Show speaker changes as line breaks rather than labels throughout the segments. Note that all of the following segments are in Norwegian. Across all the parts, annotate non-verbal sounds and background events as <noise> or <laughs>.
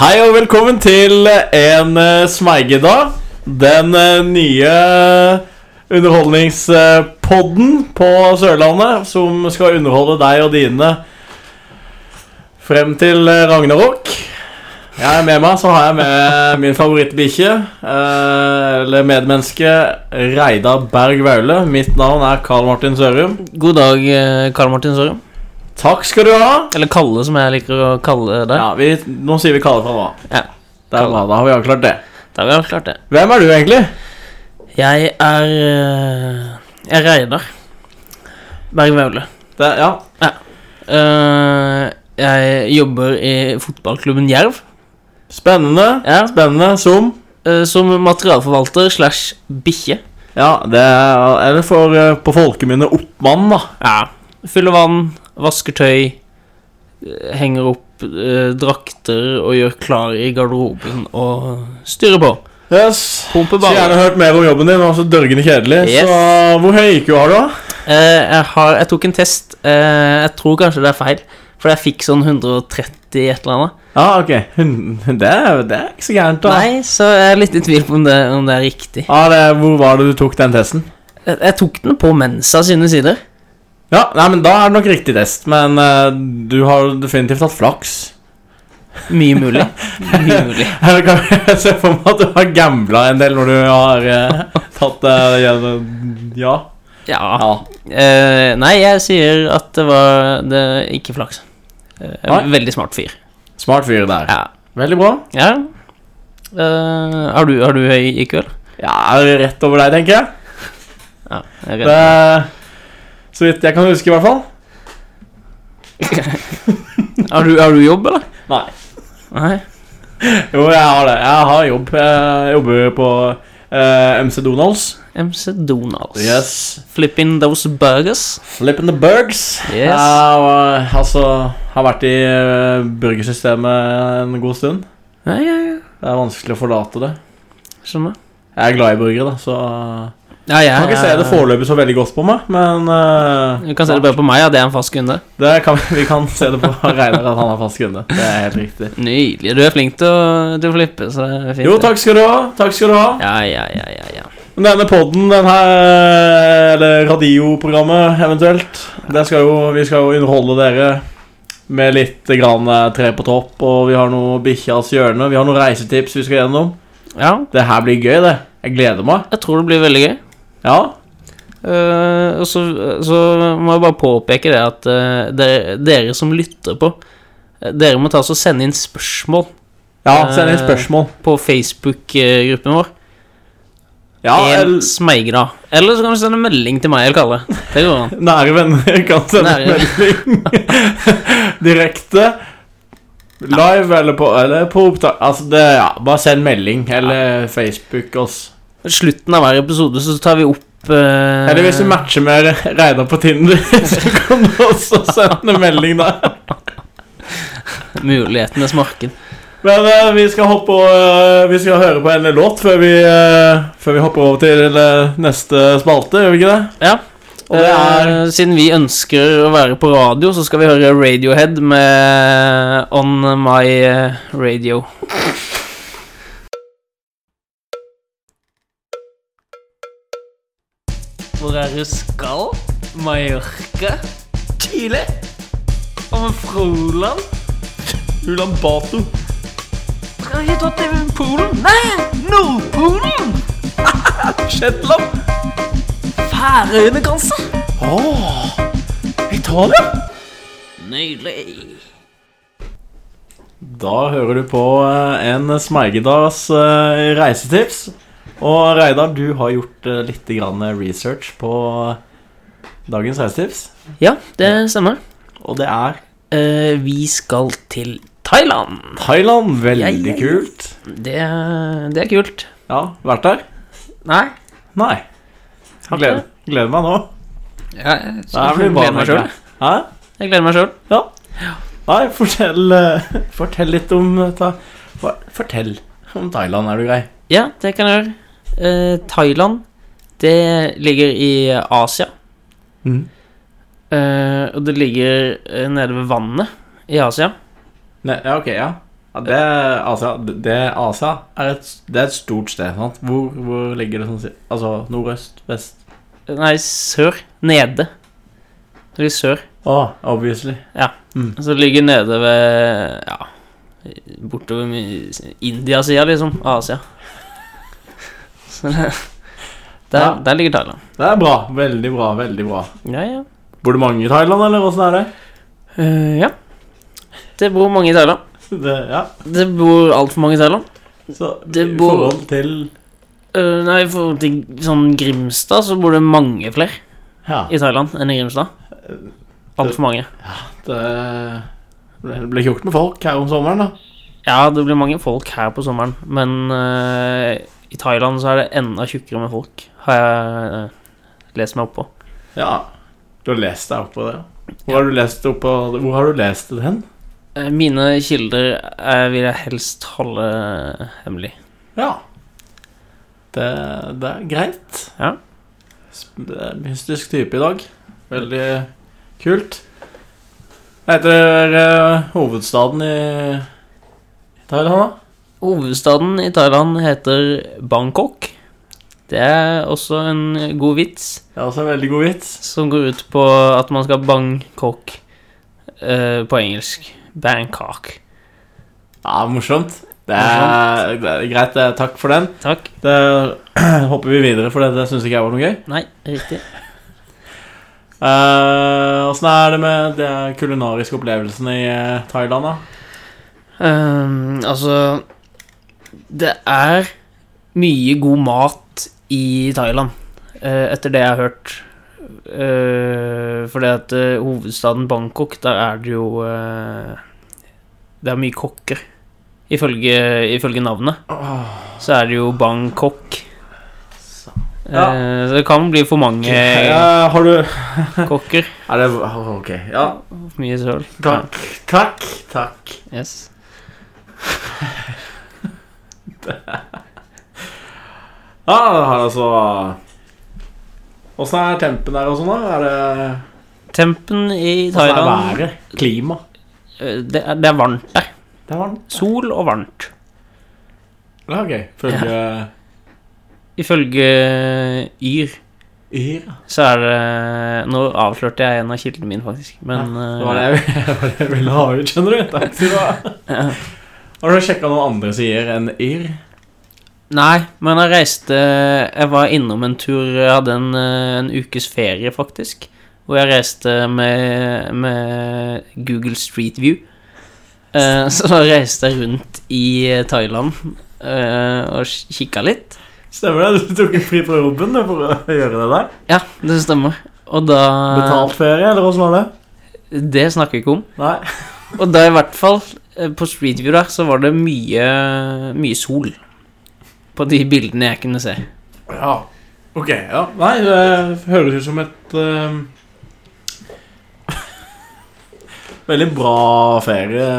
Hei og velkommen til en eh, smeigedag. Den eh, nye underholdningspodden på Sørlandet som skal underholde deg og dine frem til eh, Ragnarok. Jeg er med meg, så har jeg med min favorittbikkje, eh, eller medmenneske, Reidar Berg Vaule. Mitt navn er Karl Martin Sørum.
God dag, eh, Karl Martin Sørum.
Takk skal du ha.
Eller Kalle, som jeg liker å kalle deg.
Ja, vi, nå sier vi Kalle fra nå av.
Ja.
Det er bra, Da har vi avklart det.
Da har vi avklart det.
Hvem er du, egentlig?
Jeg er eh, Jeg er Reidar Berg Vaule.
Det, ja,
Eh, jeg jobber i fotballklubben Jerv
Spennende.
ja,
Spennende som
eh, som materialforvalter slash bikkje.
Ja, det er Eller for eh, på folkemunne oppmann, da.
Ja. Fyller vann, vasker tøy, eh, henger opp eh, drakter og gjør klar i garderoben og styrer på.
Yes.
Pumper
Så
baller.
gjerne hørt mer om jobben din. var så dørgende kjedelig.
Yes.
Så eh, hvor høy IQ har du, da?
Eh, jeg, har, jeg tok en test. Eh, jeg tror kanskje det er feil, for jeg fikk sånn 130 i et eller annet.
Ja, ok. Hun- Det er, det er ikke så gærent, da.
Nei, så jeg er litt i tvil på om det, om det er riktig.
Ja, det, hvor var det du tok den testen?
Jeg, jeg tok den på Mensa sine sider.
Ja, nei, men Da er det nok riktig test, men eh, du har definitivt hatt flaks. <laughs>
Mye mulig. Mye mulig.
Eller kan jeg se for meg at du har gambla en del når du har eh, tatt eh, gjennom- Ja.
Ja.
<laughs> ja.
Eh, nei, jeg sier at det var det, ikke flaks. Eh,
Nei.
veldig smart fyr.
Smart fyr der.
Ja.
Veldig bra.
ja. Eh, har, du, har du høy IQ, eller?
Ja, rett over deg, tenker jeg.
Ja, jeg er redd.
Det, så vidt jeg kan huske, i hvert fall.
Har du, har du jobb, eller?
Nei.
Nei.
Jo, jeg har det. Jeg har jobb. Jeg jobber på eh, MC Donalds.
MC Donalds.
Yes.
Flipping those burgers.
Flippin' the Burgs.
Yes.
Jeg var- altså, har vært i eh, burgersystemet en god stund.
Ja, ja, ja.
Det er vanskelig å forlate det.
Skjønner.
Jeg er glad i burgere, da, så
Ja, jeg,
Kan ikke se det foreløpig så veldig godt på meg, men eh,
Du kan se det bare på meg, ja. Det er en fast kunde.
det kan, Vi kan se det på <laughs> Reidar at han er fast kunde. Det er helt riktig.
Nydelig. Du er flink til å, til å flippe, så det er fint.
Jo,
det.
takk skal du ha. Takk skal du ha.
Ja, ja, ja, ja, ja.
Men Denne podden, den her Eller radioprogrammet eventuelt det skal jo, Vi skal jo underholde dere Med litt grann eh, tre på topp Og vi har noe bikkjas hjørne Vi har noen reisetips vi skal gjennom
Ja,
Det her blir gøy det, jeg gleder meg
jeg tror det blir veldig gøy.
Ja,
Eh, og så, så må jeg bare påpeke det at eh, dere, dere som lytter på, eh, dere må ta oss og sende inn spørsmål
ja send
Eh,
inn spørsmål
på Facebook-gruppen vår.
ja,
en
el-
smeigra. Eller så kan du sende en melding til meg eller Kalle. Det går an.
Nære venner kan sende
Nære.
melding <laughs> Direkte Live eller på, eller på opptak Altså det, ja, bare send melding Eller Facebook oss
Slutten av hver episode så tar vi opp eh,
Eller hvis du matcher med Reidar på Tinder, <laughs> så kan du også sende melding der.
mulighetenes marked.
Men eh, vi, skal hoppe, og, eh, vi skal høre på en låt før vi, eh, før vi hopper over til eh, neste spalte, gjør vi ikke det?
Ja.
Og det er
Eh, Siden vi ønsker å være på radio, så skal vi høre Radiohead med On My eh, Radio. Hvor er du skal? Mallorca? Chile? Om Froland?
Ulan Bato.
Fra hit opp til Polen? Nei, Nordpolen!
Shetland.
Færøyene, kanskje?
Åh, Italia.
Nydelig.
Da hører du på eh, en smeigedags eh, reisetips. Og Reidar, du har gjort eh, litt grann research på dagens reisetips.
Ja, det stemmer.
Og det er
Eh, vi skal til Thailand.
Thailand. Veldig
Ja, ja, ja.
kult.
Det, er- det er kult.
Ja, vært der?
Nei.
Nei.
Har ikke
Gleder, gleder meg nå.
Jeg,
Det her blir bra,
gleder
tenker
meg sjøl.
jeg. Hæ?
Jeg gleder meg sjøl.
Ja. Nei, fortell, eh, fortell litt om dette. Hva- Fortell om Thailand, er du grei?
Ja, det kan jeg gjøre. Eh, Thailand, det ligger i Asia. Mm. Eh, og det ligger eh, nede ved vannet i Asia.
Ne ja, ok, ja. Ja, det, Asia, det, Asia er et, det er et stort sted. Sant? Hvor, hvor ligger det sånn si- Altså nordøst, vest?
Nei, sør. Nede. Det ligger sør.
Å, obviously.
Så det ligger nede ved Ja, bortover mi- India-sida, liksom. Asia. <laughs> Så det, der,
Ja.
der ligger Thailand.
Det er bra. Veldig bra. veldig bra
Ja, ja.
Bor det mange i Thailand, eller åssen er det? <laughs>
Eh, ja. Det bor mange i Thailand.
det ja.
Det bor altfor mange i Thailand.
Så
Det
i
bor-
forhold til
Eh, nei, i forhold til sånn Grimstad, så bor det mange flere
Ja.
i Thailand enn i Grimstad. Eh, Altfor mange.
Det det blir tjukt med folk her om sommeren, da.
Ja, det blir mange folk her på sommeren, men eh, i Thailand så er det enda tjukkere med folk, har jeg eh, lest meg opp på.
Ja. Du har lest deg opp på det? Hvor har du lest, opp på, hvor har du lest det hen?
Eh, Mine kilder eh, vil jeg helst holde hemmelig.
Ja. Det, det er greit.
Ja.
Sp- Det er en mystisk type i dag. Veldig kult. Hva heter eh, hovedstaden i Thailand, da?
Hovedstaden i Thailand heter Bangkok. Det er også en god vits
Det er også en veldig god vits.
som går ut på at man skal Bangkok eh, på engelsk. Bangkok.
Ja, morsomt. Det er, det er greit. det er- Takk for den.
Takk.
Det <clears throat> hopper vi videre, for det, det syns ikke jeg var noe gøy.
Nei, riktig.
Eh, Åssen er det med de kulinariske opplevelsene i eh, Thailand, da?
Ehm, altså Det er mye god mat i Thailand, eh, etter det jeg har hørt. Uh, fordi at eh, hovedstaden Bangkok, der er det jo eh, Det er mye kokker. Ifølge, ifølge navnet så er det jo Bangkok. Eh,
Ja.
så det kan bli for mange
Eh, Ja, har du
kokker.
Er det Ok. Ja.
For mye søl.
Takk. Takk. Takk.
Ja, yes.
Ja, her altså Åssen er tempen der og sånn, da? Er det
Tempen i
hvordan er
Thailand
været? Klima?
eh, det, er, det er varmt der.
Det var den.
Sol og varmt.
Ja, ok. Følge
Ifølge Yr
Yr.
så er det Nå avslørte jeg en av kildene mine, faktisk, men eh,
Det var det jeg, <laughs> det var det jeg ville ha ut, skjønner du. Takk skal du ha.
eh,
Har du sjekka noen andre sider enn yr?
Nei, men jeg reiste Jeg var innom en tur Jeg hadde en, eh, en ukes ferie, faktisk. Hvor jeg reiste med, med Google Street View. Eh, <laughs> Så da reiste jeg rundt i Thailand eh, og kikka litt.
Stemmer det? Du tok en fri fra jobben du, for å gjøre det der?
Ja, det stemmer. Og da
Betalt ferie, eller åssen var det?
Det snakker vi ikke om.
Nei.
Og da i hvert fall, eh, på Street View der, så var det mye, mye sol. På de bildene jeg kunne se.
Ja. Ok, ja. Nei, det høres ut som et eh, <laughs> Veldig bra ferie,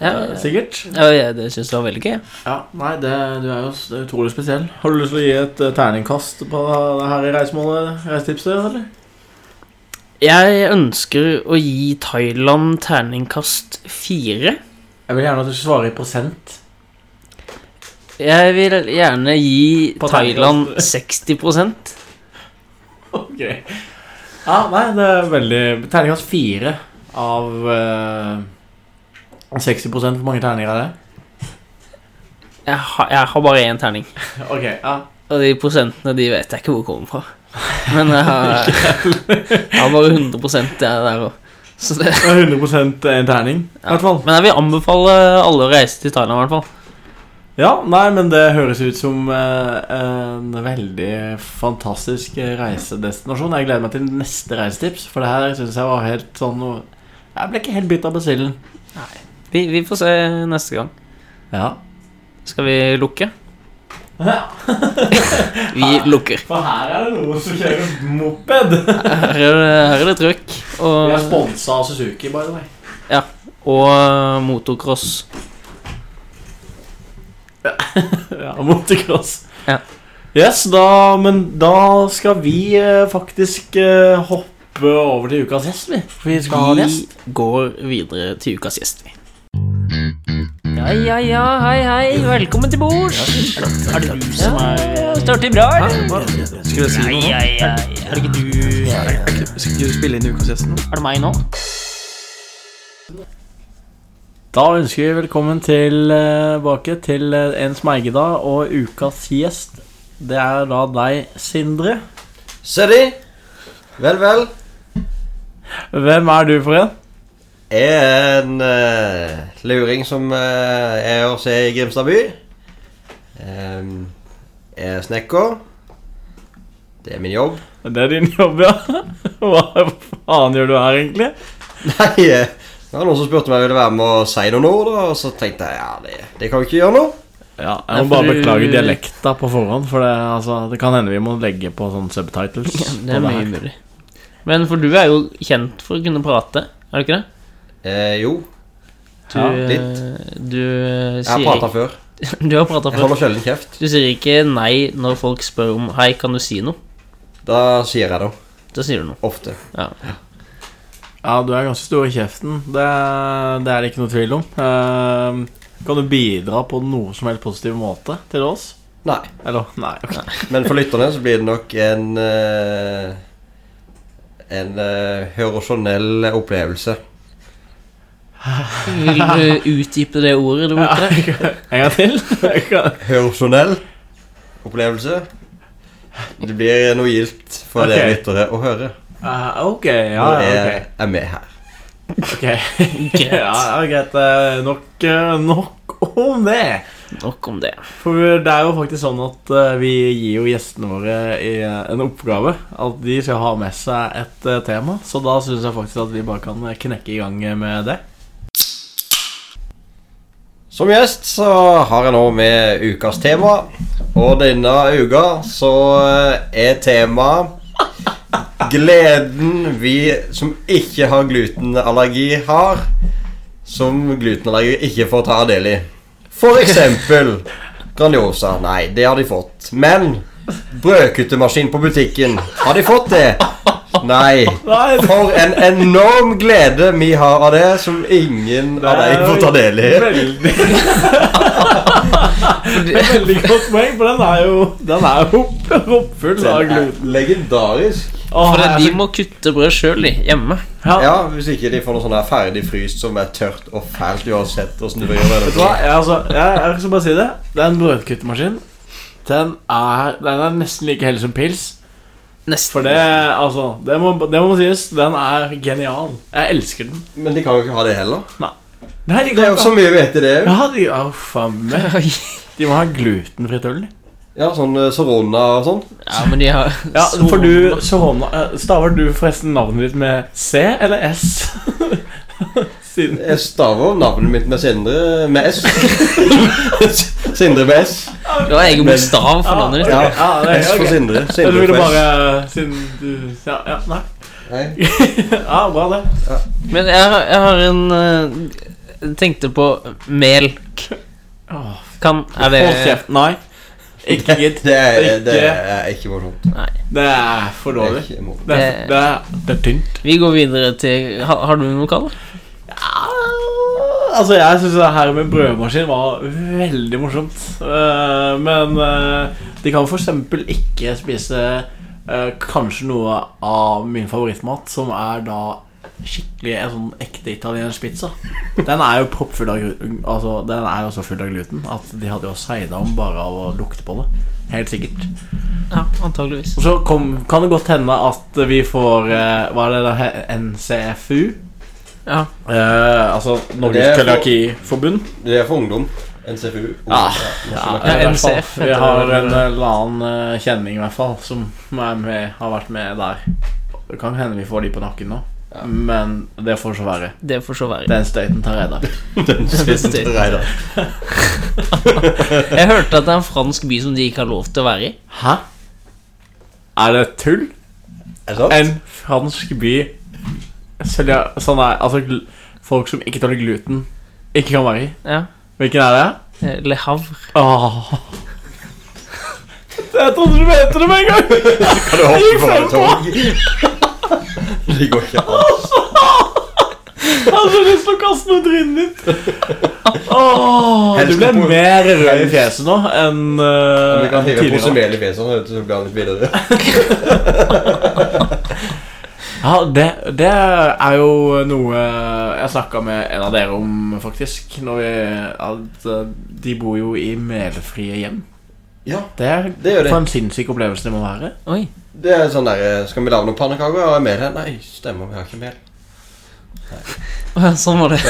Ja,
eh, sikkert.
ja, ja, det syns jeg var veldig gøy.
Ja, nei, det, du er jo s- det er utrolig spesiell. Har du lyst til å gi et eh, terningkast på det her i reisemålet, reisetipset, eller?
Jeg ønsker å gi Thailand terningkast fire.
Jeg vil gjerne at du svarer i prosent.
Jeg vil gjerne gi
På
Thailand
terningkast.
60
<laughs> Ok. Ja, nei, det er veldig Terningkast fire av eh, 60 Hvor mange terninger er det?
Jeg, har- jeg har bare én terning.
Ok, ja.
Og de prosentene de vet jeg ikke hvor kommer fra. Men
<laughs>
jeg har, jeg har bare 100 jeg der òg. Så det
Det er 100 en terning, i hvert fall.
Men jeg vil anbefale alle å reise til Thailand, i hvert fall.
Ja, nei, men det høres ut som eh, en veldig fantastisk eh, reisedestinasjon. Jeg gleder meg til neste reisetips, for det her syns jeg var helt sånn Jeg ble ikke helt bitt av basillen.
Vi, vi får se neste gang.
Ja.
Skal vi
<laughs>
lukke? Vi lukker.
For her er det noen som kjører moped.
Her er det, her er det trøkk
Vi er
og,
sponsa av Suzuki, by the way.
og eh, motocross.
<laughs> Ja, motocross.
Ja.
Yes, da, men da skal vi eh, faktisk eh, hoppe over til ukas gjest, vi. For vi skal ha en gjest.
Vi går videre til ukas gjest, vi. Ja, ja, ja, hei, hei. Velkommen til bords.
Er det du
Ja,
som er
ja, Står til bra,
Hæ?
eller?
Hva? Skulle jeg si noe?
Ai,
nå?
ai, ai.
Er det ikke du er det ikke- Skal ikke du spille inn Ukas gjest nå?
Er det meg nå?
Da ønsker vi velkommen tilbake til eh, En smeigeda og ukas gjest. Det er da deg, Sindre.
Se de! Vel, vel.
Hvem er du for en?
Jeg er en eh, luring som eh, er å se i Grimstad by. Em, jeg er snekker. Det er min jobb.
Det er din jobb, ja. <laughs> Hva faen gjør du her, egentlig?
<laughs> Nei, eh, det var noen som spurte om jeg ville være med og si noen ord, da, og så tenkte jeg ja, det, det kan vi ikke gjøre nå.
Ja,
Nei,
Jeg må
for
bare
du-
beklage dialekta på forhånd, for det, altså, det kan hende vi må legge på sånne subtitles.
Det
på
er mye
her.
mulig. Men for du er jo kjent for å kunne prate, er du ikke det?
Eh, jo,
Du,
Ja,
Du, eh,
jeg har
sier
prata før.
ikke- <laughs> du har prata
Jeg
før.
holder sjelden kjeft.
Du sier ikke nei når folk spør om 'Hei, kan du si noe?'
Da sier jeg det
Da sier du noe.
ofte.
Ja.
Ja, du er ganske stor i kjeften. Det, det er det ikke noe tvil om. Ehm, kan du bidra på noe som helst positiv måte til oss?
Nei.
Eller nei. ok.
Men for lytterne så blir det nok en eh, en eh, hørosjonell opplevelse.
Vil du eh, utdype det ordet du brukte?
<laughs> En gang <laughs> til?
Hørsjonell opplevelse. Det blir noe gildt for dere
Ok.
lyttere å høre
Eh, ok, ja,
når
ja,
jeg
ok.
er med her.
Ok. <laughs> Ja, ja, greit. Eh, Nok, eh, nok om det.
Nok om det.
For det er jo faktisk sånn at eh, vi gir jo gjestene våre i, eh, en oppgave. At de skal ha med seg et eh, tema. Så da syns jeg faktisk at vi bare kan eh, knekke i gang eh, med det.
Som gjest så har jeg nå med ukas tema, og denne uka så eh, er temaet Gleden vi som ikke har glutenallergi, har. Som glutenallergi ikke får ta del i. For eksempel Grandiosa. Nei, det har de fått. Men brødkuttermaskin på butikken, har de fått det? Nei.
Nei,
For en enorm glede vi har av det, som ingen av deg får ta del i.
Veldig, veldig godt poeng, for den er jo, den er jo proppfull av gluten.
legendarisk.
Åh,
For det,
jeg
de
er så-
må kutte brød sjøl, de. Hjemme.
Ah.
Ja, Hvis ikke de får noe sånn her ferdig fryst som er tørt og fælt uansett hvordan du vrir det.
Vet du hva? Jeg, altså, jeg, jeg skal bare si det. Det er en brødkuttermaskin. Den er, den er nesten like hellig som pils.
Nesten.
For det, altså, det må, det må sies, den er genial. Jeg elsker den.
Men de kan jo ikke ha det heller.
Nei, de
Det er
kan
jo så mye vi vet i det. jo.
Ja, de, å, faen meg.
<laughs> Oi.
de må ha glutenfritt øl.
Ja, sånn eh, Sorona og sånn.
Ja, men de har
Ja, for du, Sohona, eh, Staver du forresten navnet ditt med C eller S? <laughs> Siden
Jeg staver navnet mitt med Sindre med S. <laughs> Sindre med S.
Du har egen bokstav for liksom. navnet ditt.
Ja,
Ja,
ja, det
S
er
for
ok.
Sindre.
Jeg
Sindre
ville
for S.
bare eh, Siden du Ja, ja nei. <laughs>
Nei.
Ja, bra, det.
Men jeg, har- jeg har en eh, Jeg tenkte på melk.
Åh.
Kan Er det
Hold kjeft. Nei. Ikke gidd.
Det er, det
Ikke.
er ikke morsomt.
Det er for
Det er
dårlig.
ikke morsomt.
Det er, det er, det er tynt.
Vi går videre til ha, Har du noe, Kalle?
Altså, jeg syns det her med brødmaskin var veldig morsomt. Eh, men eh, de kan f.eks. ikke spise eh, kanskje noe av min favorittmat, som er da skikkelig en sånn ekte italiensk pizza. Den er jo proppfull av glu- Altså, den er jo så full av gluten at de hadde jo seida om bare av å lukte på det. Helt sikkert.
Ja, antageligvis.
Og så kom, kan det godt hende at vi får eh, Hva er det det heter? NCFU?
Ja.
Eh, altså
Det
Norges
er for-
Cøliakiforbund.
Det er for ungdom. NCFU.
Ja.
Ja,
Ja,
i hvert fall.
NCF heter
Vi har
det.
en eller annen eh, kjenning i hvert fall som er med, har vært med der. Det kan hende vi får de på nakken nå,
Ja.
men det får så være.
Det får så være.
Den støyten tar jeg der.
<laughs> Den Sindre Reidar.
Jeg hørte at det er en fransk by som de ikke har lov til å være i.
Hæ? Er det tull?
Er det sant?
En fransk by Cølia- Sånn er Altså gl- folk som ikke tåler gluten, ikke kan være i.
Ja.
Hvilken er det?
Eh, Le Havre.
Åh. Jeg trodde du mente det med en gang!
Kan du
Jeg
hoppe på
fem
et tog? <laughs> Det går ikke an.
Jeg hadde så lyst til å kaste noe trynet ditt. <laughs> Åh, du
Helst
ble
på-
mer rød i fjeset nå enn
Men Vi
eh,
kan
enn
hive en pose
tidligere.
mel i fjeset, vet du, så blir han litt videre.
Ja, det, det er jo noe jeg snakka med en av dere om, faktisk. Når vi, at eh, de bor jo i melfrie hjem.
Ja,
Det er
det gjør de.
for en sinnssyk opplevelse det må være.
Oi.
Det er sånn der, Skal vi lage noen pannekaker? Har jeg mel her? Nei, stemmer, vi har ikke mel.
Sånn var det.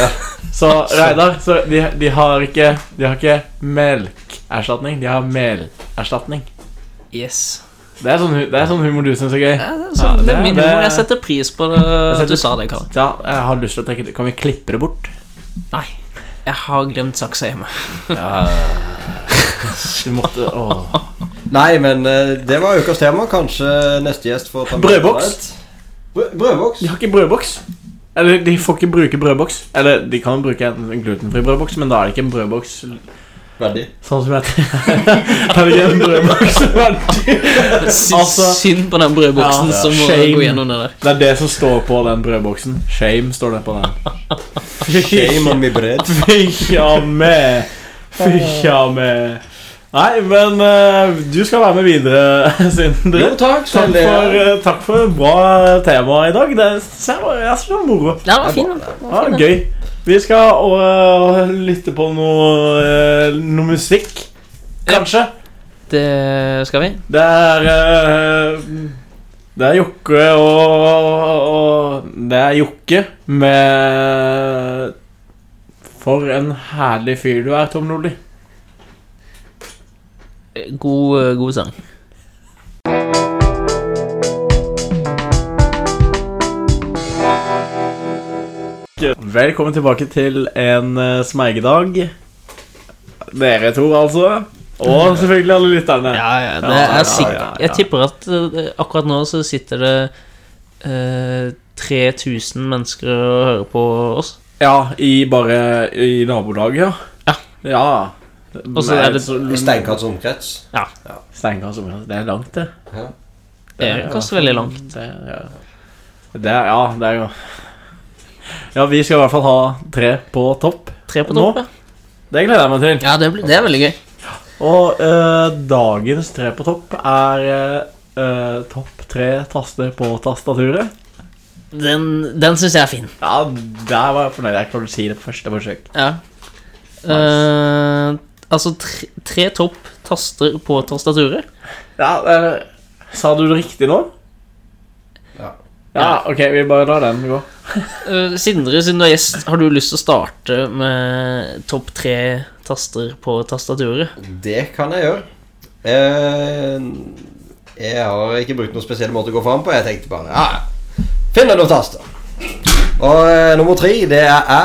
Så Reidar, så de, de har ikke De har ikke melkerstatning, de har melerstatning.
Yes.
Det er sånn, hu- det er sånn humor du syns er gøy.
Ja, det er
Ja,
sånn, det
det-
er min
det-
humor. Jeg setter pris på det,
setter-
at du sa det, Karl.
Ja, jeg har lyst til å trekke det. Kan vi klippe det bort?
Nei. Jeg har glemt saksa <laughs> hjemme.
Ah. Du måtte åh.
Nei, men eh, det var ukas tema. Kanskje neste gjest får ta med
Brødboks.
Brø brødboks?
De har ikke brødboks. Eller de får ikke bruke brødboks. Eller de kan bruke en en glutenfri brødboks, men da er det ikke en brødboks
Veldig.
sånn som heter Da er det ikke en brødboks verdig.
<laughs> Sy-
Altså-
Synd på den brødboksen
Ja, ja.
som må
Shame.
gå gjennom det der.
Det er det som står på den brødboksen. Shame står det på den.
Shame on me bread.
Fykja med. Fykja med. Nei, men eh, du skal være med videre,
Jo,
Sindre.
takk.
Takk
selv det.
for, eh, takk for bra tema i dag. Det er, jeg synes det var moro.
Ja, det var
Det
fin.
er
den.
Ja, det er gøy. Vi skal øh, lytte på noe, øh, noe musikk, kanskje.
Det skal vi.
Det er øh, Det er Jokke og, og Det er Jokke med For en herlig fyr du er, Tom Nordli.
God, god sang.
Velkommen tilbake til en øh, smeigedag. Dere to, altså. Og selvfølgelig alle lytterne.
Ja, ja, det
Ja, ja,
er sikkert.
ja, ja.
Jeg tipper at eh, akkurat nå så sitter det eh, 3000 mennesker og hører på oss.
Ja, i bare i nabolaget, ja.
Ja.
Ja.
Og så er det-
I Steinkarts omkrets.
Steinkast område. Det er langt, det.
Ja.
Det er kanskje veldig langt.
Det, ja. det er Ja, det er jo Ja, vi skal i hvert fall ha tre på topp.
Tre på
Nå?
topp, ja.
Det gleder jeg meg til.
Ja, det, blir, det er veldig gøy.
Og eh, dagens tre på topp er eh, eh, topp tre taster på tastaturet.
Den, den syns jeg er fin.
Ja, der var jeg fornøyd. Jeg klarte å si det på første forsøk.
Ja. Eh, altså tre, tre topp taster på tastaturet.
Ja, eh, Sa du det riktig nå?
Ja.
Ja, ok, vi bare lar den gå.
Eh, Sindre, siden du er gjest, har du lyst til å starte med topp tre taster på tastaturet?
Det kan jeg gjøre. Eh, jeg har ikke brukt noen spesiell måte å gå fram på. Jeg tenkte bare ja, ja. Finn deg noen taster. Og eh, nummer tre, det er æ.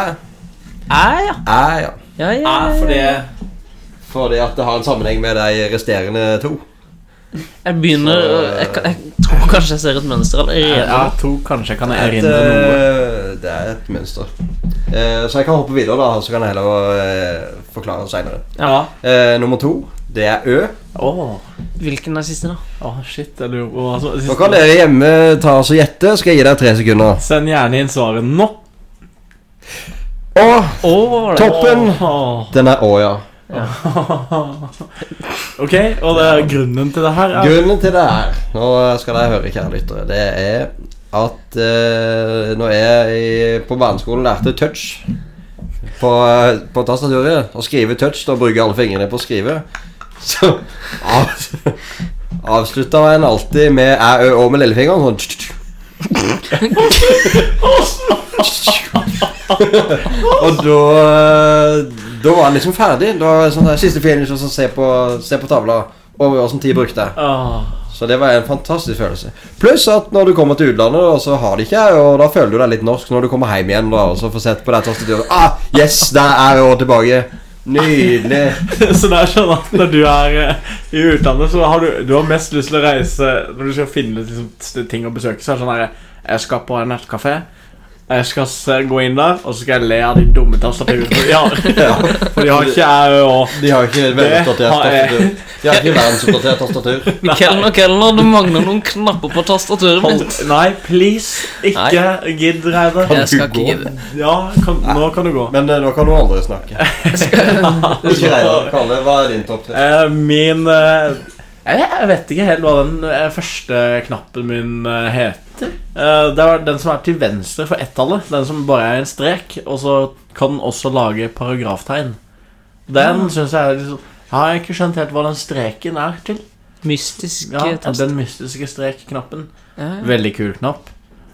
Eh, ja. Ah,
Æ, ja.
Ja, ja,
Ja, for
ja.
det
Fordi at det har en sammenheng med de resterende to.
Jeg begynner
Så-
jeg, kan- jeg tror kanskje jeg ser et mønster allerede.
Ja, jeg tror kanskje jeg kan
Et,
erindre noe.
eh, det er et mønster. Eh, så jeg kan hoppe videre, da, så kan jeg heller eh, forklare det seinere.
Ja.
Eh, nummer to, det er Ø.
Åh,
Hvilken er <laughs> siste, da?
åh, shit, jeg lurer på hva som-
Nå kan dere hjemme ta oss og gjette. Skal jeg gi dere tre sekunder.
Send gjerne inn svaret nå.
Og
Oh,
toppen,
Åh. <laughs>
den er Å, ja.
ok, og det er grunnen til det her er
Grunnen til det her Nå skal dere høre, kjære lyttere. Det er at eh, når jeg i- på barneskolen lærte touch på, eh, på tastaturet Å skrive touch, da bruker jeg alle fingrene på å skrive. Så av, avslutta en alltid med æ, ø, å med lillefingeren. Sånn tsk, tsk. Og da eh, Da var han liksom ferdig. Da var det sånn der, Siste finish, og så se på, se på tavla. Over åssen tid brukte jeg.
Åh, <laughs>
Så det var en fantastisk følelse. Pluss at når du kommer til utlandet, da, så har de ikke jeg, og da føler du deg litt norsk når du kommer hjem igjen da, og så får sett på det tastaturet. Ah, yes, der er jeg og tilbake. Nydelig.
Så det er sånn at når du er eh, i utlandet Så har du, du har mest lyst til å reise Når du skal finne liksom, st- ting å besøke Så er det sånn her Jeg skal på en nettkafé Jeg skal se, gå inn der, og så skal jeg le av de dumme
<laughs>
tastaturene. For, ja, <laughs>
Ja.
for de har ikke eh, jeg og
De har ikke veloppdatert
har jeg.
tastatur. De har ikke verdensoppdatert tastatur.
Nei,
Kelner, kelner, du mangler noen knapper på tastaturet
hold-
mitt.
nei, please. Ikke gidd, Reidar.
Kan
Jeg skal
du
ikke
gå?
gidde.
Ja, kan, nå kan du gå.
Men eh, nå kan noen andre snakke. <laughs> Ikke Reidar. Kalle, hva er din topp tre?
Eh, Min eh, jeg, jeg vet ikke helt hva den eh, første knappen min eh, heter. Eh, Det er den som er til venstre for ett-tallet. Den som bare er en strek. Og så kan den også lage paragraftegn. Den synes jeg er liksom Jeg har ikke skjønt helt hva den streken er til.
Mystiske
Ja,
tast...
den mystiske strek-knappen.
Ja.
Veldig kul knapp.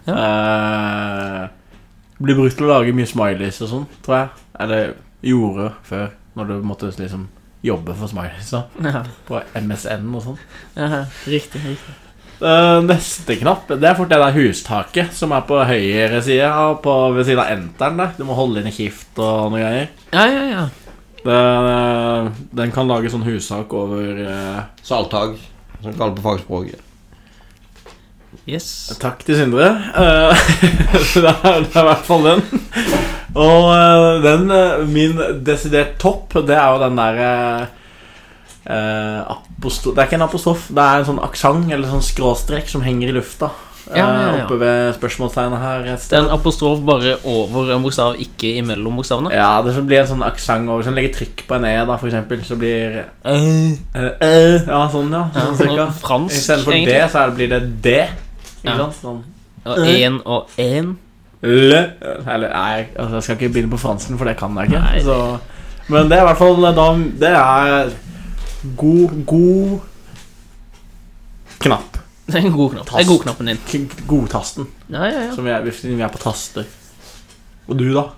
Ja.
Eh, blir brukt til å lage mye smileys og sånn, tror jeg. Eller gjorde før, når du måtte liksom jobbe for smileys. da.
Ja.
På MSN og sånn.
Ja. Riktig. riktig.
Eh, neste knapp Det er fort det der hustaket som er på høyre side og på, ved siden av enteren. der Du må holde inn i skift og noe greier.
Ja, ja, ja.
Det, eh, den kan lage sånn hustak over eh,
Saltag, som vi kaller på fagspråket.
Yes.
Takk til Sindre. Eh, <laughs> så det, er, det er i hvert fall den. Og eh, den eh, min desidert topp, det er jo den der eh, eh, aposto- Det er ikke en apostrof, det er en sånn aksent eller sånn skråstrek som henger i lufta. eh,
Ja, ja, ja.
Oppe ved spørsmålstegnet her. et
Det
sted.
er en apostrof bare over en bokstav, ikke imellom bokstavene.
Ja, det som blir en sånn aksent over. Så legger trykk på en e, da, for eksempel, så blir
Eh,
eh, eh, Ja, sånn, ja.
ja,
Sånn,
sånn
cirka. I
fransk,
stedet for d,
egentlig.
så er det, blir det d. Ikke
Ja.
sant? Sånn.
Og én og én.
Le Eller nei, altså, jeg skal ikke begynne på fransken, for det kan jeg ikke.
Nei.
Så, men det er i hvert fall eh, da Det er god, god knapp.
<laughs> Det er en god knapp. Det er godknappen din.
K- Godtasten.
Ja, ja, ja.
Som vi er, vi er på taster. Og du, da?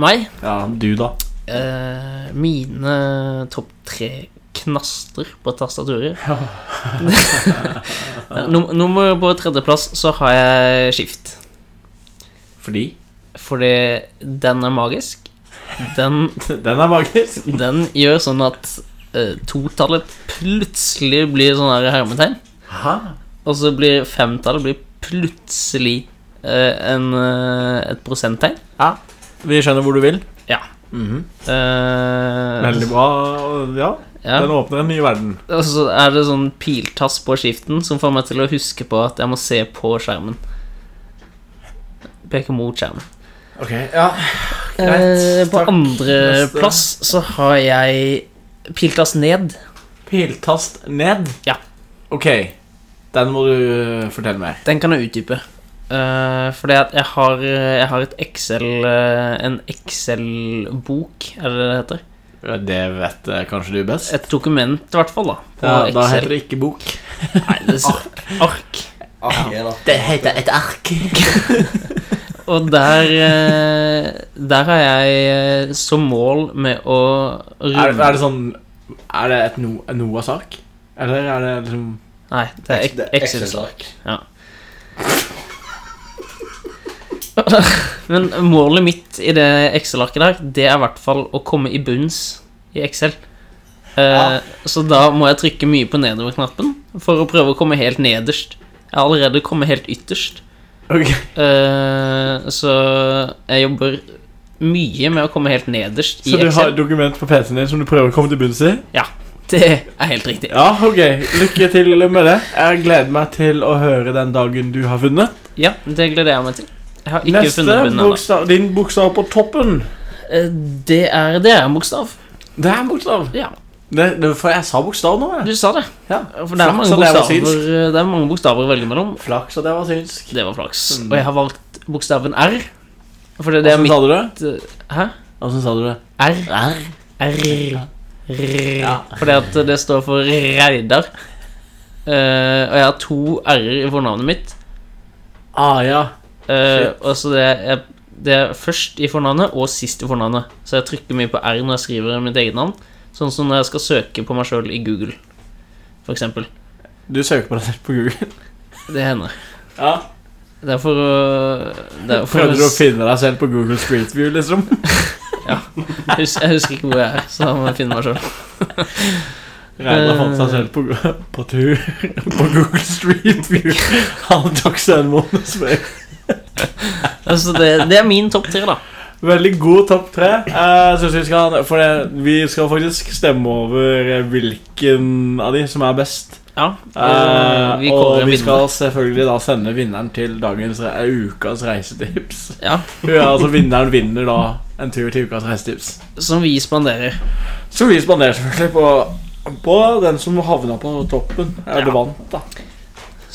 Meg.
Ja, du, da?
Eh, mine topp tre knaster på tastaturet. <laughs> Num- Nummer på tredjeplass så har jeg skift.
Fordi
Fordi den er magisk. Den,
<laughs> den er magisk.
den gjør sånn at eh, totallet plutselig blir sånn her hermetegn.
Hæ?
Og så blir femtallet blir plutselig eh, en, eh, et prosenttegn.
Vi skjønner hvor du vil.
Ja.
Mhm.
Eh,
Veldig bra. Ja,
ja.
den åpner en ny verden.
Og så er det sånn piltass på skiften som får meg til å huske på at jeg må se på skjermen. Peke mot skjermen.
Ok, ja
Eh,
Greit,
på
takk. Neste.
andreplass så har jeg piltass ned.
Piltast ned.
Ja.
Ok. Den må du fortelle mer.
Den kan jeg utdype. Eh, fordi at jeg har, jeg har et Excel eh, En Excel-bok, er det det heter?
Det vet eh, kanskje du best.
Et dokument, i hvert fall. da På
Da, da heter
Excel.
det ikke bok.
Nei, det er ark. ark.
Ah,
Det heter et ark.
<laughs> Og der, eh, der har jeg eh, som mål med å
Er,
runde
er det sånn Er det et no, en Noahs ark? Eller er det liksom
Nei, det er ek- Excel.
Excel-ark.
<laughs> Men målet mitt i det Excel-arket der, det er i hvert fall å komme i bunns i Excel. Eh, Så da må jeg trykke mye på nedover-knappen for å prøve å komme helt nederst. Jeg har allerede kommet helt ytterst,
Ok,
Eh, så jeg jobber mye med å komme helt nederst i
Så du har
Excel.
et dokument på PC-en din som du prøver å komme til bunns i?
Det er helt riktig.
Ja, ok. Lykke til med det. Jeg gleder meg til å høre den dagen du har funnet.
Ja, det gleder jeg meg til. Jeg har ikke
Neste
funnet bunnen ennå.
bokstav, din bokstav på toppen.
Eh, Det er det er en bokstav.
Det er en bokstav.
Ja,
Det, det, for jeg sa bokstav nå, jeg.
du sa det.
Ja.
For det er,
Flaks at
mange
jeg var
bokstaver, det er mange bokstaver å velge mellom.
Flaks at jeg var synsk.
Det var flaks.
Mm.
Og jeg har valgt bokstaven R. For det, det er
Åssen
mitt
sa du det?
Hæ?
Åssen sa du det?
R. R.
Ja.
Fordi at det står for Reidar. Eh, og jeg har to r-er i fornavnet mitt.
Ah, ja.
Eh,
Shit.
og så det er, det er først i fornavnet og sist i fornavnet. Så jeg trykker mye på r når jeg skriver mitt eget navn. Sånn som når jeg skal søke på meg sjøl i Google, for eksempel.
Du søker på deg selv på Google.
Det hender.
Ja.
Det er for å det er for
Prøvde du å finne deg selv på Google Street View, liksom?
Jeg hus- <laughs> jeg husker ikke hvor jeg er, så da må jeg finne meg sjøl.
Reidar fant seg selv på, <laughs> på tur <laughs> på Google Street View. Han tok seg en måneds ferie.
Altså, det, det er min topp tre, da.
Veldig god topp tre. Jeg synes vi skal For det, vi skal faktisk stemme over hvilken av de som er best.
Ja,
Eh,
og vi
og
kårer en
vi
vinner.
skal selvfølgelig da sende vinneren til dagens re eh, ukas reisetips. <laughs>
Ja,
Ja, altså Vinneren vinner da en tur til ukas reisetips.
som vi spanderer.
Så vi spanderer selvfølgelig på, på den som havna på toppen. Eller
Ja.
vant, da.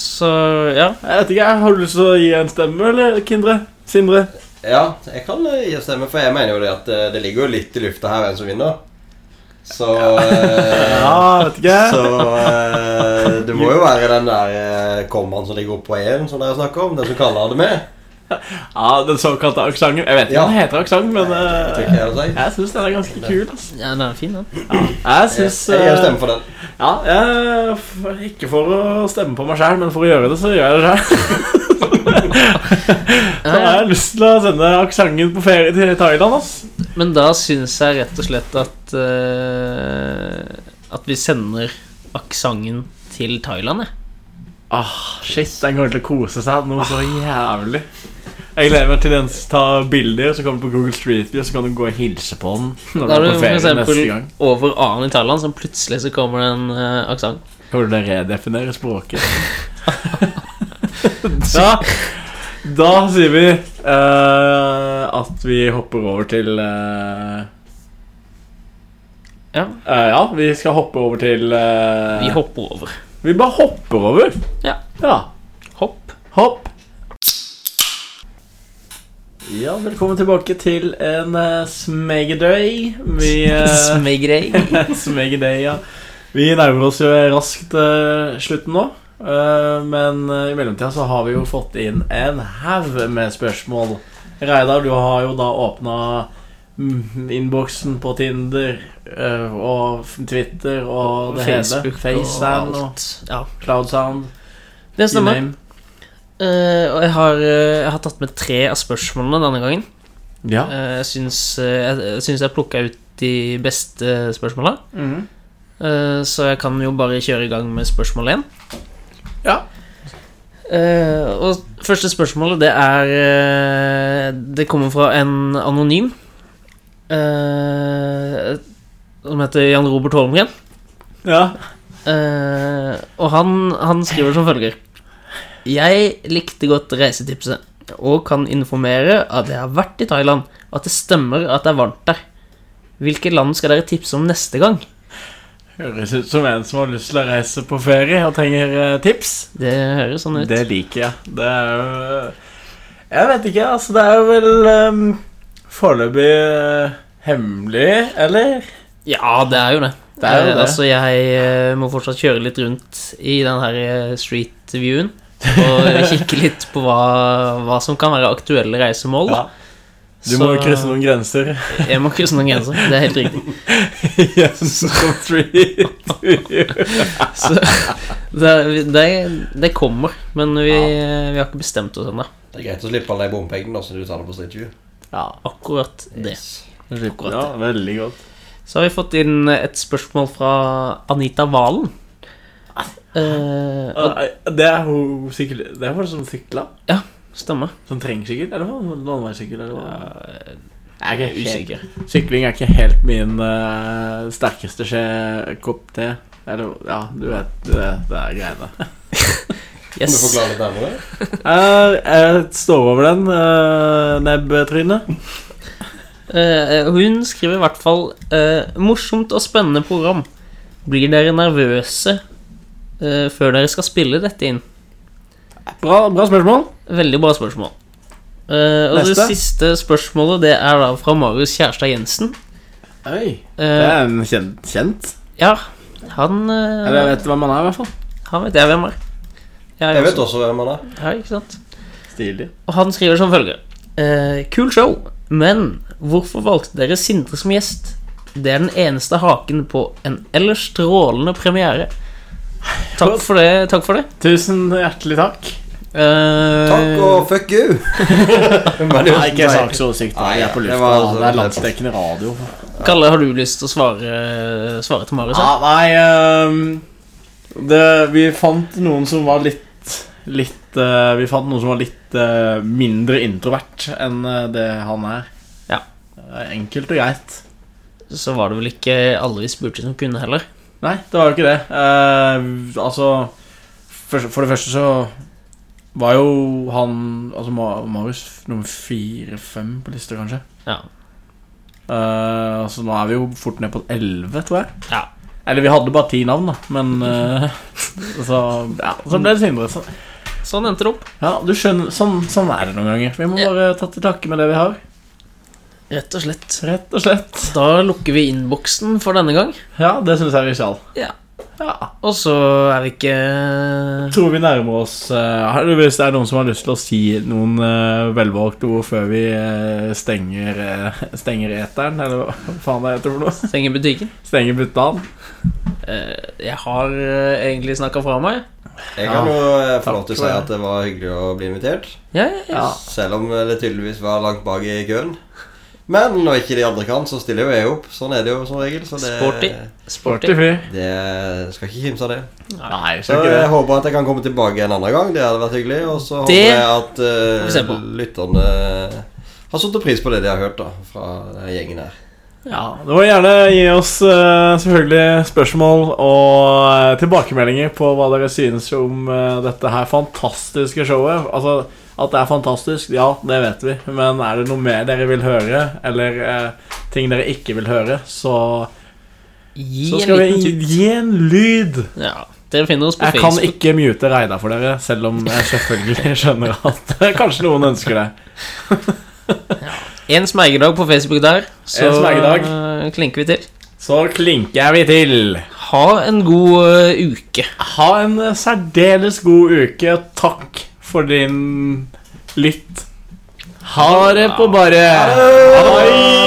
Så ja.
Jeg vet ikke, jeg Har du lyst til å gi en stemme, eller, Kindre? Sindre?
Ja, jeg kan eh, gi stemme, for jeg mener jo det at eh, det ligger jo litt i lufta her hvem som vinner. Så eh,
<laughs> Ja, vet ikke.
Så eh, det må jo være den der eh, kommaen som ligger oppå én, som dere snakker om. Den som kaller det med.
Ja, Den såkalte aksenten. Jeg vet ikke
Ja.
hva den heter, aksent, men
Jeg
eh,
tror ikke jeg hadde sagt.
jeg syns den er ganske kul. ass
ja, den er fin, den.
Jeg
Jeg,
syns
jeg gir stemme for den.
Ja, jeg, f- ikke for å stemme på meg sjæl, men for å gjøre det, så gjør jeg det sjæl. <laughs> Så jeg har lyst til å sende aksenten på ferie til Thailand, ass.
Men da syns jeg rett og slett at eh, At vi sender aksenten til Thailand, jeg.
Ah, shit, den kommer til å kose seg noe
Ah.
så jævlig. Jeg gleder meg til den som tar bilder, så kommer du på Google Street View, så kan du gå og hilse på den når
Da
du er
er du
på
for
ferie neste
eksempel
gang.
over A-en i Thailand, så plutselig så kommer det en uh, aksent.
Kommer du til å redefinere
<laughs>
språket? da, da sier vi eh, at vi hopper over til eh,
Ja.
eh, ja, vi skal hoppe over til eh,
Vi hopper over.
vi bare hopper over.
Ja.
ja.
Hopp.
Hopp. Ja, velkommen tilbake til en uh, smegedøy. Vi
<laughs>
eh, <laughs>
Smegrei.
som jeg er det, ja. Vi nærmer oss jo raskt eh, slutten nå. eh, men eh, i mellomtida så har vi jo fått inn en haug med spørsmål. Reidar, du har jo da åpna mm, innboksen på Tinder eh, og f- Twitter og det hele. FaceTime og,
Ja,
Cloudsound.
det
you
stemmer.
name.
Eh, og jeg har, eh, jeg har tatt med tre av spørsmålene denne gangen.
Ja.
Eh, jeg syns, eh, jeg- jeg, syns jeg plukka ut de beste spørsmåla.
Mhm.
Eh, så jeg kan jo bare kjøre i gang med spørsmål én.
Ja.
Eh, og første spørsmålet, det er eh, Det kommer fra en anonym. eh, som heter Jan Robert Holmgren.
ja.
Eh, og han, han skriver som følger Jeg likte godt reisetipset og kan informere at jeg har vært i Thailand, og at det stemmer at det er varmt der. Hvilke land skal dere tipse om neste gang?
Høres ut som en som har lyst til å reise på ferie og trenger eh, tips.
Det høres sånn ut.
Det liker jeg. Det er jo eh, Jeg vet ikke, altså. Det er jo vel um, foreløpig eh, hemmelig, eller?
Ja, det er jo det.
Det er jo
Eh,
det.
Altså, jeg eh, må fortsatt kjøre litt rundt i den her eh, street viewen
<laughs>
og kikke litt på hva, hva som kan være aktuelle reisemål. Da.
Du må
Så-
jo krysse noen grenser. <laughs>
Jeg må krysse noen grenser. Det er helt riktig.
Gjennom
<laughs>
street.
Så <laughs> det, det, det kommer, men vi, vi har ikke bestemt oss ennå.
Det er greit å slippe alle de bompengene da, så du tar det på Street View.
ja,
Akkurat det. Akkurat
ja,
det.
veldig godt.
Så har vi fått inn et spørsmål fra Anita Valen. Eh, og,
Ah, Det er hun sykkel... Det er folk som sykler.
stemmer.
Som trenger sykkel? Eller hva? Landeveissykkel? Eller hva? Jeg er ikke helt-
eh, Usikker.
Sykling er ikke helt min eh, sterkeste skje kopp te. Eller ja, du vet det, det er greiene. <laughs>
Kan du
Yes.
forklare litt nærmere?
Jeg, Eh, jeg står over den uh, nebbtrynet.
Eh, hun skriver i hvert fall eh, Morsomt og spennende program. Blir dere nervøse eh, før dere skal spille dette inn?
Bra, bra spørsmål.
Veldig bra spørsmål. Eh, og
Neste.
det siste spørsmålet Det er da fra Marius Kjærstad Jensen.
Oi, det
Eh,
er en kjent. kjent.
Ja, han eh,
Eller jeg vet hvem han er, i hvert fall.
Han vet jeg hvem er. Jeg,
Jeg vet også hvem han er.
Ja, ikke sant?
Stilig.
Og han skriver som følger. Eh, kul show, men hvorfor valgte dere Sindre som gjest? Det er den eneste haken på en ellers strålende premiere. Takk for det. takk for det
Tusen hjertelig takk.
Eh,
Takk og fuck
<laughs>
you! Men det er jo-
Nei, ikke saksåsikt.
Nei,
Jeg er på
det
lufta.
var-
da. Det er landsdekkende radio.
Kalle, har du lyst til å svare, svare til Marius?
Ja, nei ehm, det, Vi fant noen som var litt Litt litt eh, Vi fant noen som var litt eh, mindre introvert enn eh, det han er.
Ja.
Eh, Enkelt og greit.
Så var det vel ikke alle vi spurte som kunne heller.
Nei, det var jo ikke det. Eh, altså for, for det første så var jo han Altså Ma- Marius f- nummer fire-fem på lista, kanskje.
Ja.
Eh, så nå er vi jo fort ned på elleve, tror jeg.
Ja.
Eller vi hadde bare ti navn, da, men <laughs> eh, så, ja, så ble det Sindre. Så,
Sånn endte det opp.
ja, du skjønner, sånn, sånn er det noen ganger. Vi må
Ja.
bare ta til takke med det vi har.
Rett og slett.
Rett og slett.
Da lukker vi innboksen for denne gang.
Ja, det syns jeg vi skal.
Ja.
Ja.
Og så er vi ikke
<laughs> Tror vi nærmer oss eh, har du- Hvis det er noen som har lyst til å si noen eh, velvalgte ord før vi eh, stenger, eh, stenger eteren, eller hva faen det heter for noe?
Stenger butikken.
Stenger buttaen?
Eh, Jeg har eh, egentlig snakka fra meg.
Jeg kan jo eh, få lov til å
Takk
si
for det.
at det var hyggelig å bli invitert.
Ja, ja, ja.
Ja.
Selv om det tydeligvis var langt bak i køen. Men når ikke de andre kan, så stiller jo jeg opp. Sånn er det jo som regel. Så det,
Sporty.
Sporty
Sporty.
fyr.
det skal ikke kimse av det.
Nei,
Så
skal ikke
jeg
det.
håper at jeg kan komme tilbake en annen gang. Det hadde vært hyggelig. Og så håper
Det
jeg at eh,
får vi se på.
lytterne eh, har satt pris på det de har hørt da, fra eh, gjengen her.
Ja, det må gjerne gi oss eh, selvfølgelig spørsmål og eh, tilbakemeldinger på hva dere synes om eh, dette her fantastiske showet. Altså, At det er fantastisk, ja, det vet vi, men er det noe mer dere vil høre, eller eh, ting dere ikke vil høre, så,
Gi
så
en
skal
liten
vi
tur.
gi en lyd.
Ja. Dere finner oss på
Jeg kan
Facebook.
ikke mute Reidar for dere, selv om jeg selvfølgelig <laughs> skjønner at <laughs> kanskje noen ønsker det.
En smergedag på Facebook der, så
En smergedag.
eh, klinker vi til.
Så klinker vi til.
Ha en god eh, uke.
Ha en eh, særdeles god uke. og Takk for din lytt. Ha det på bare. Ha det.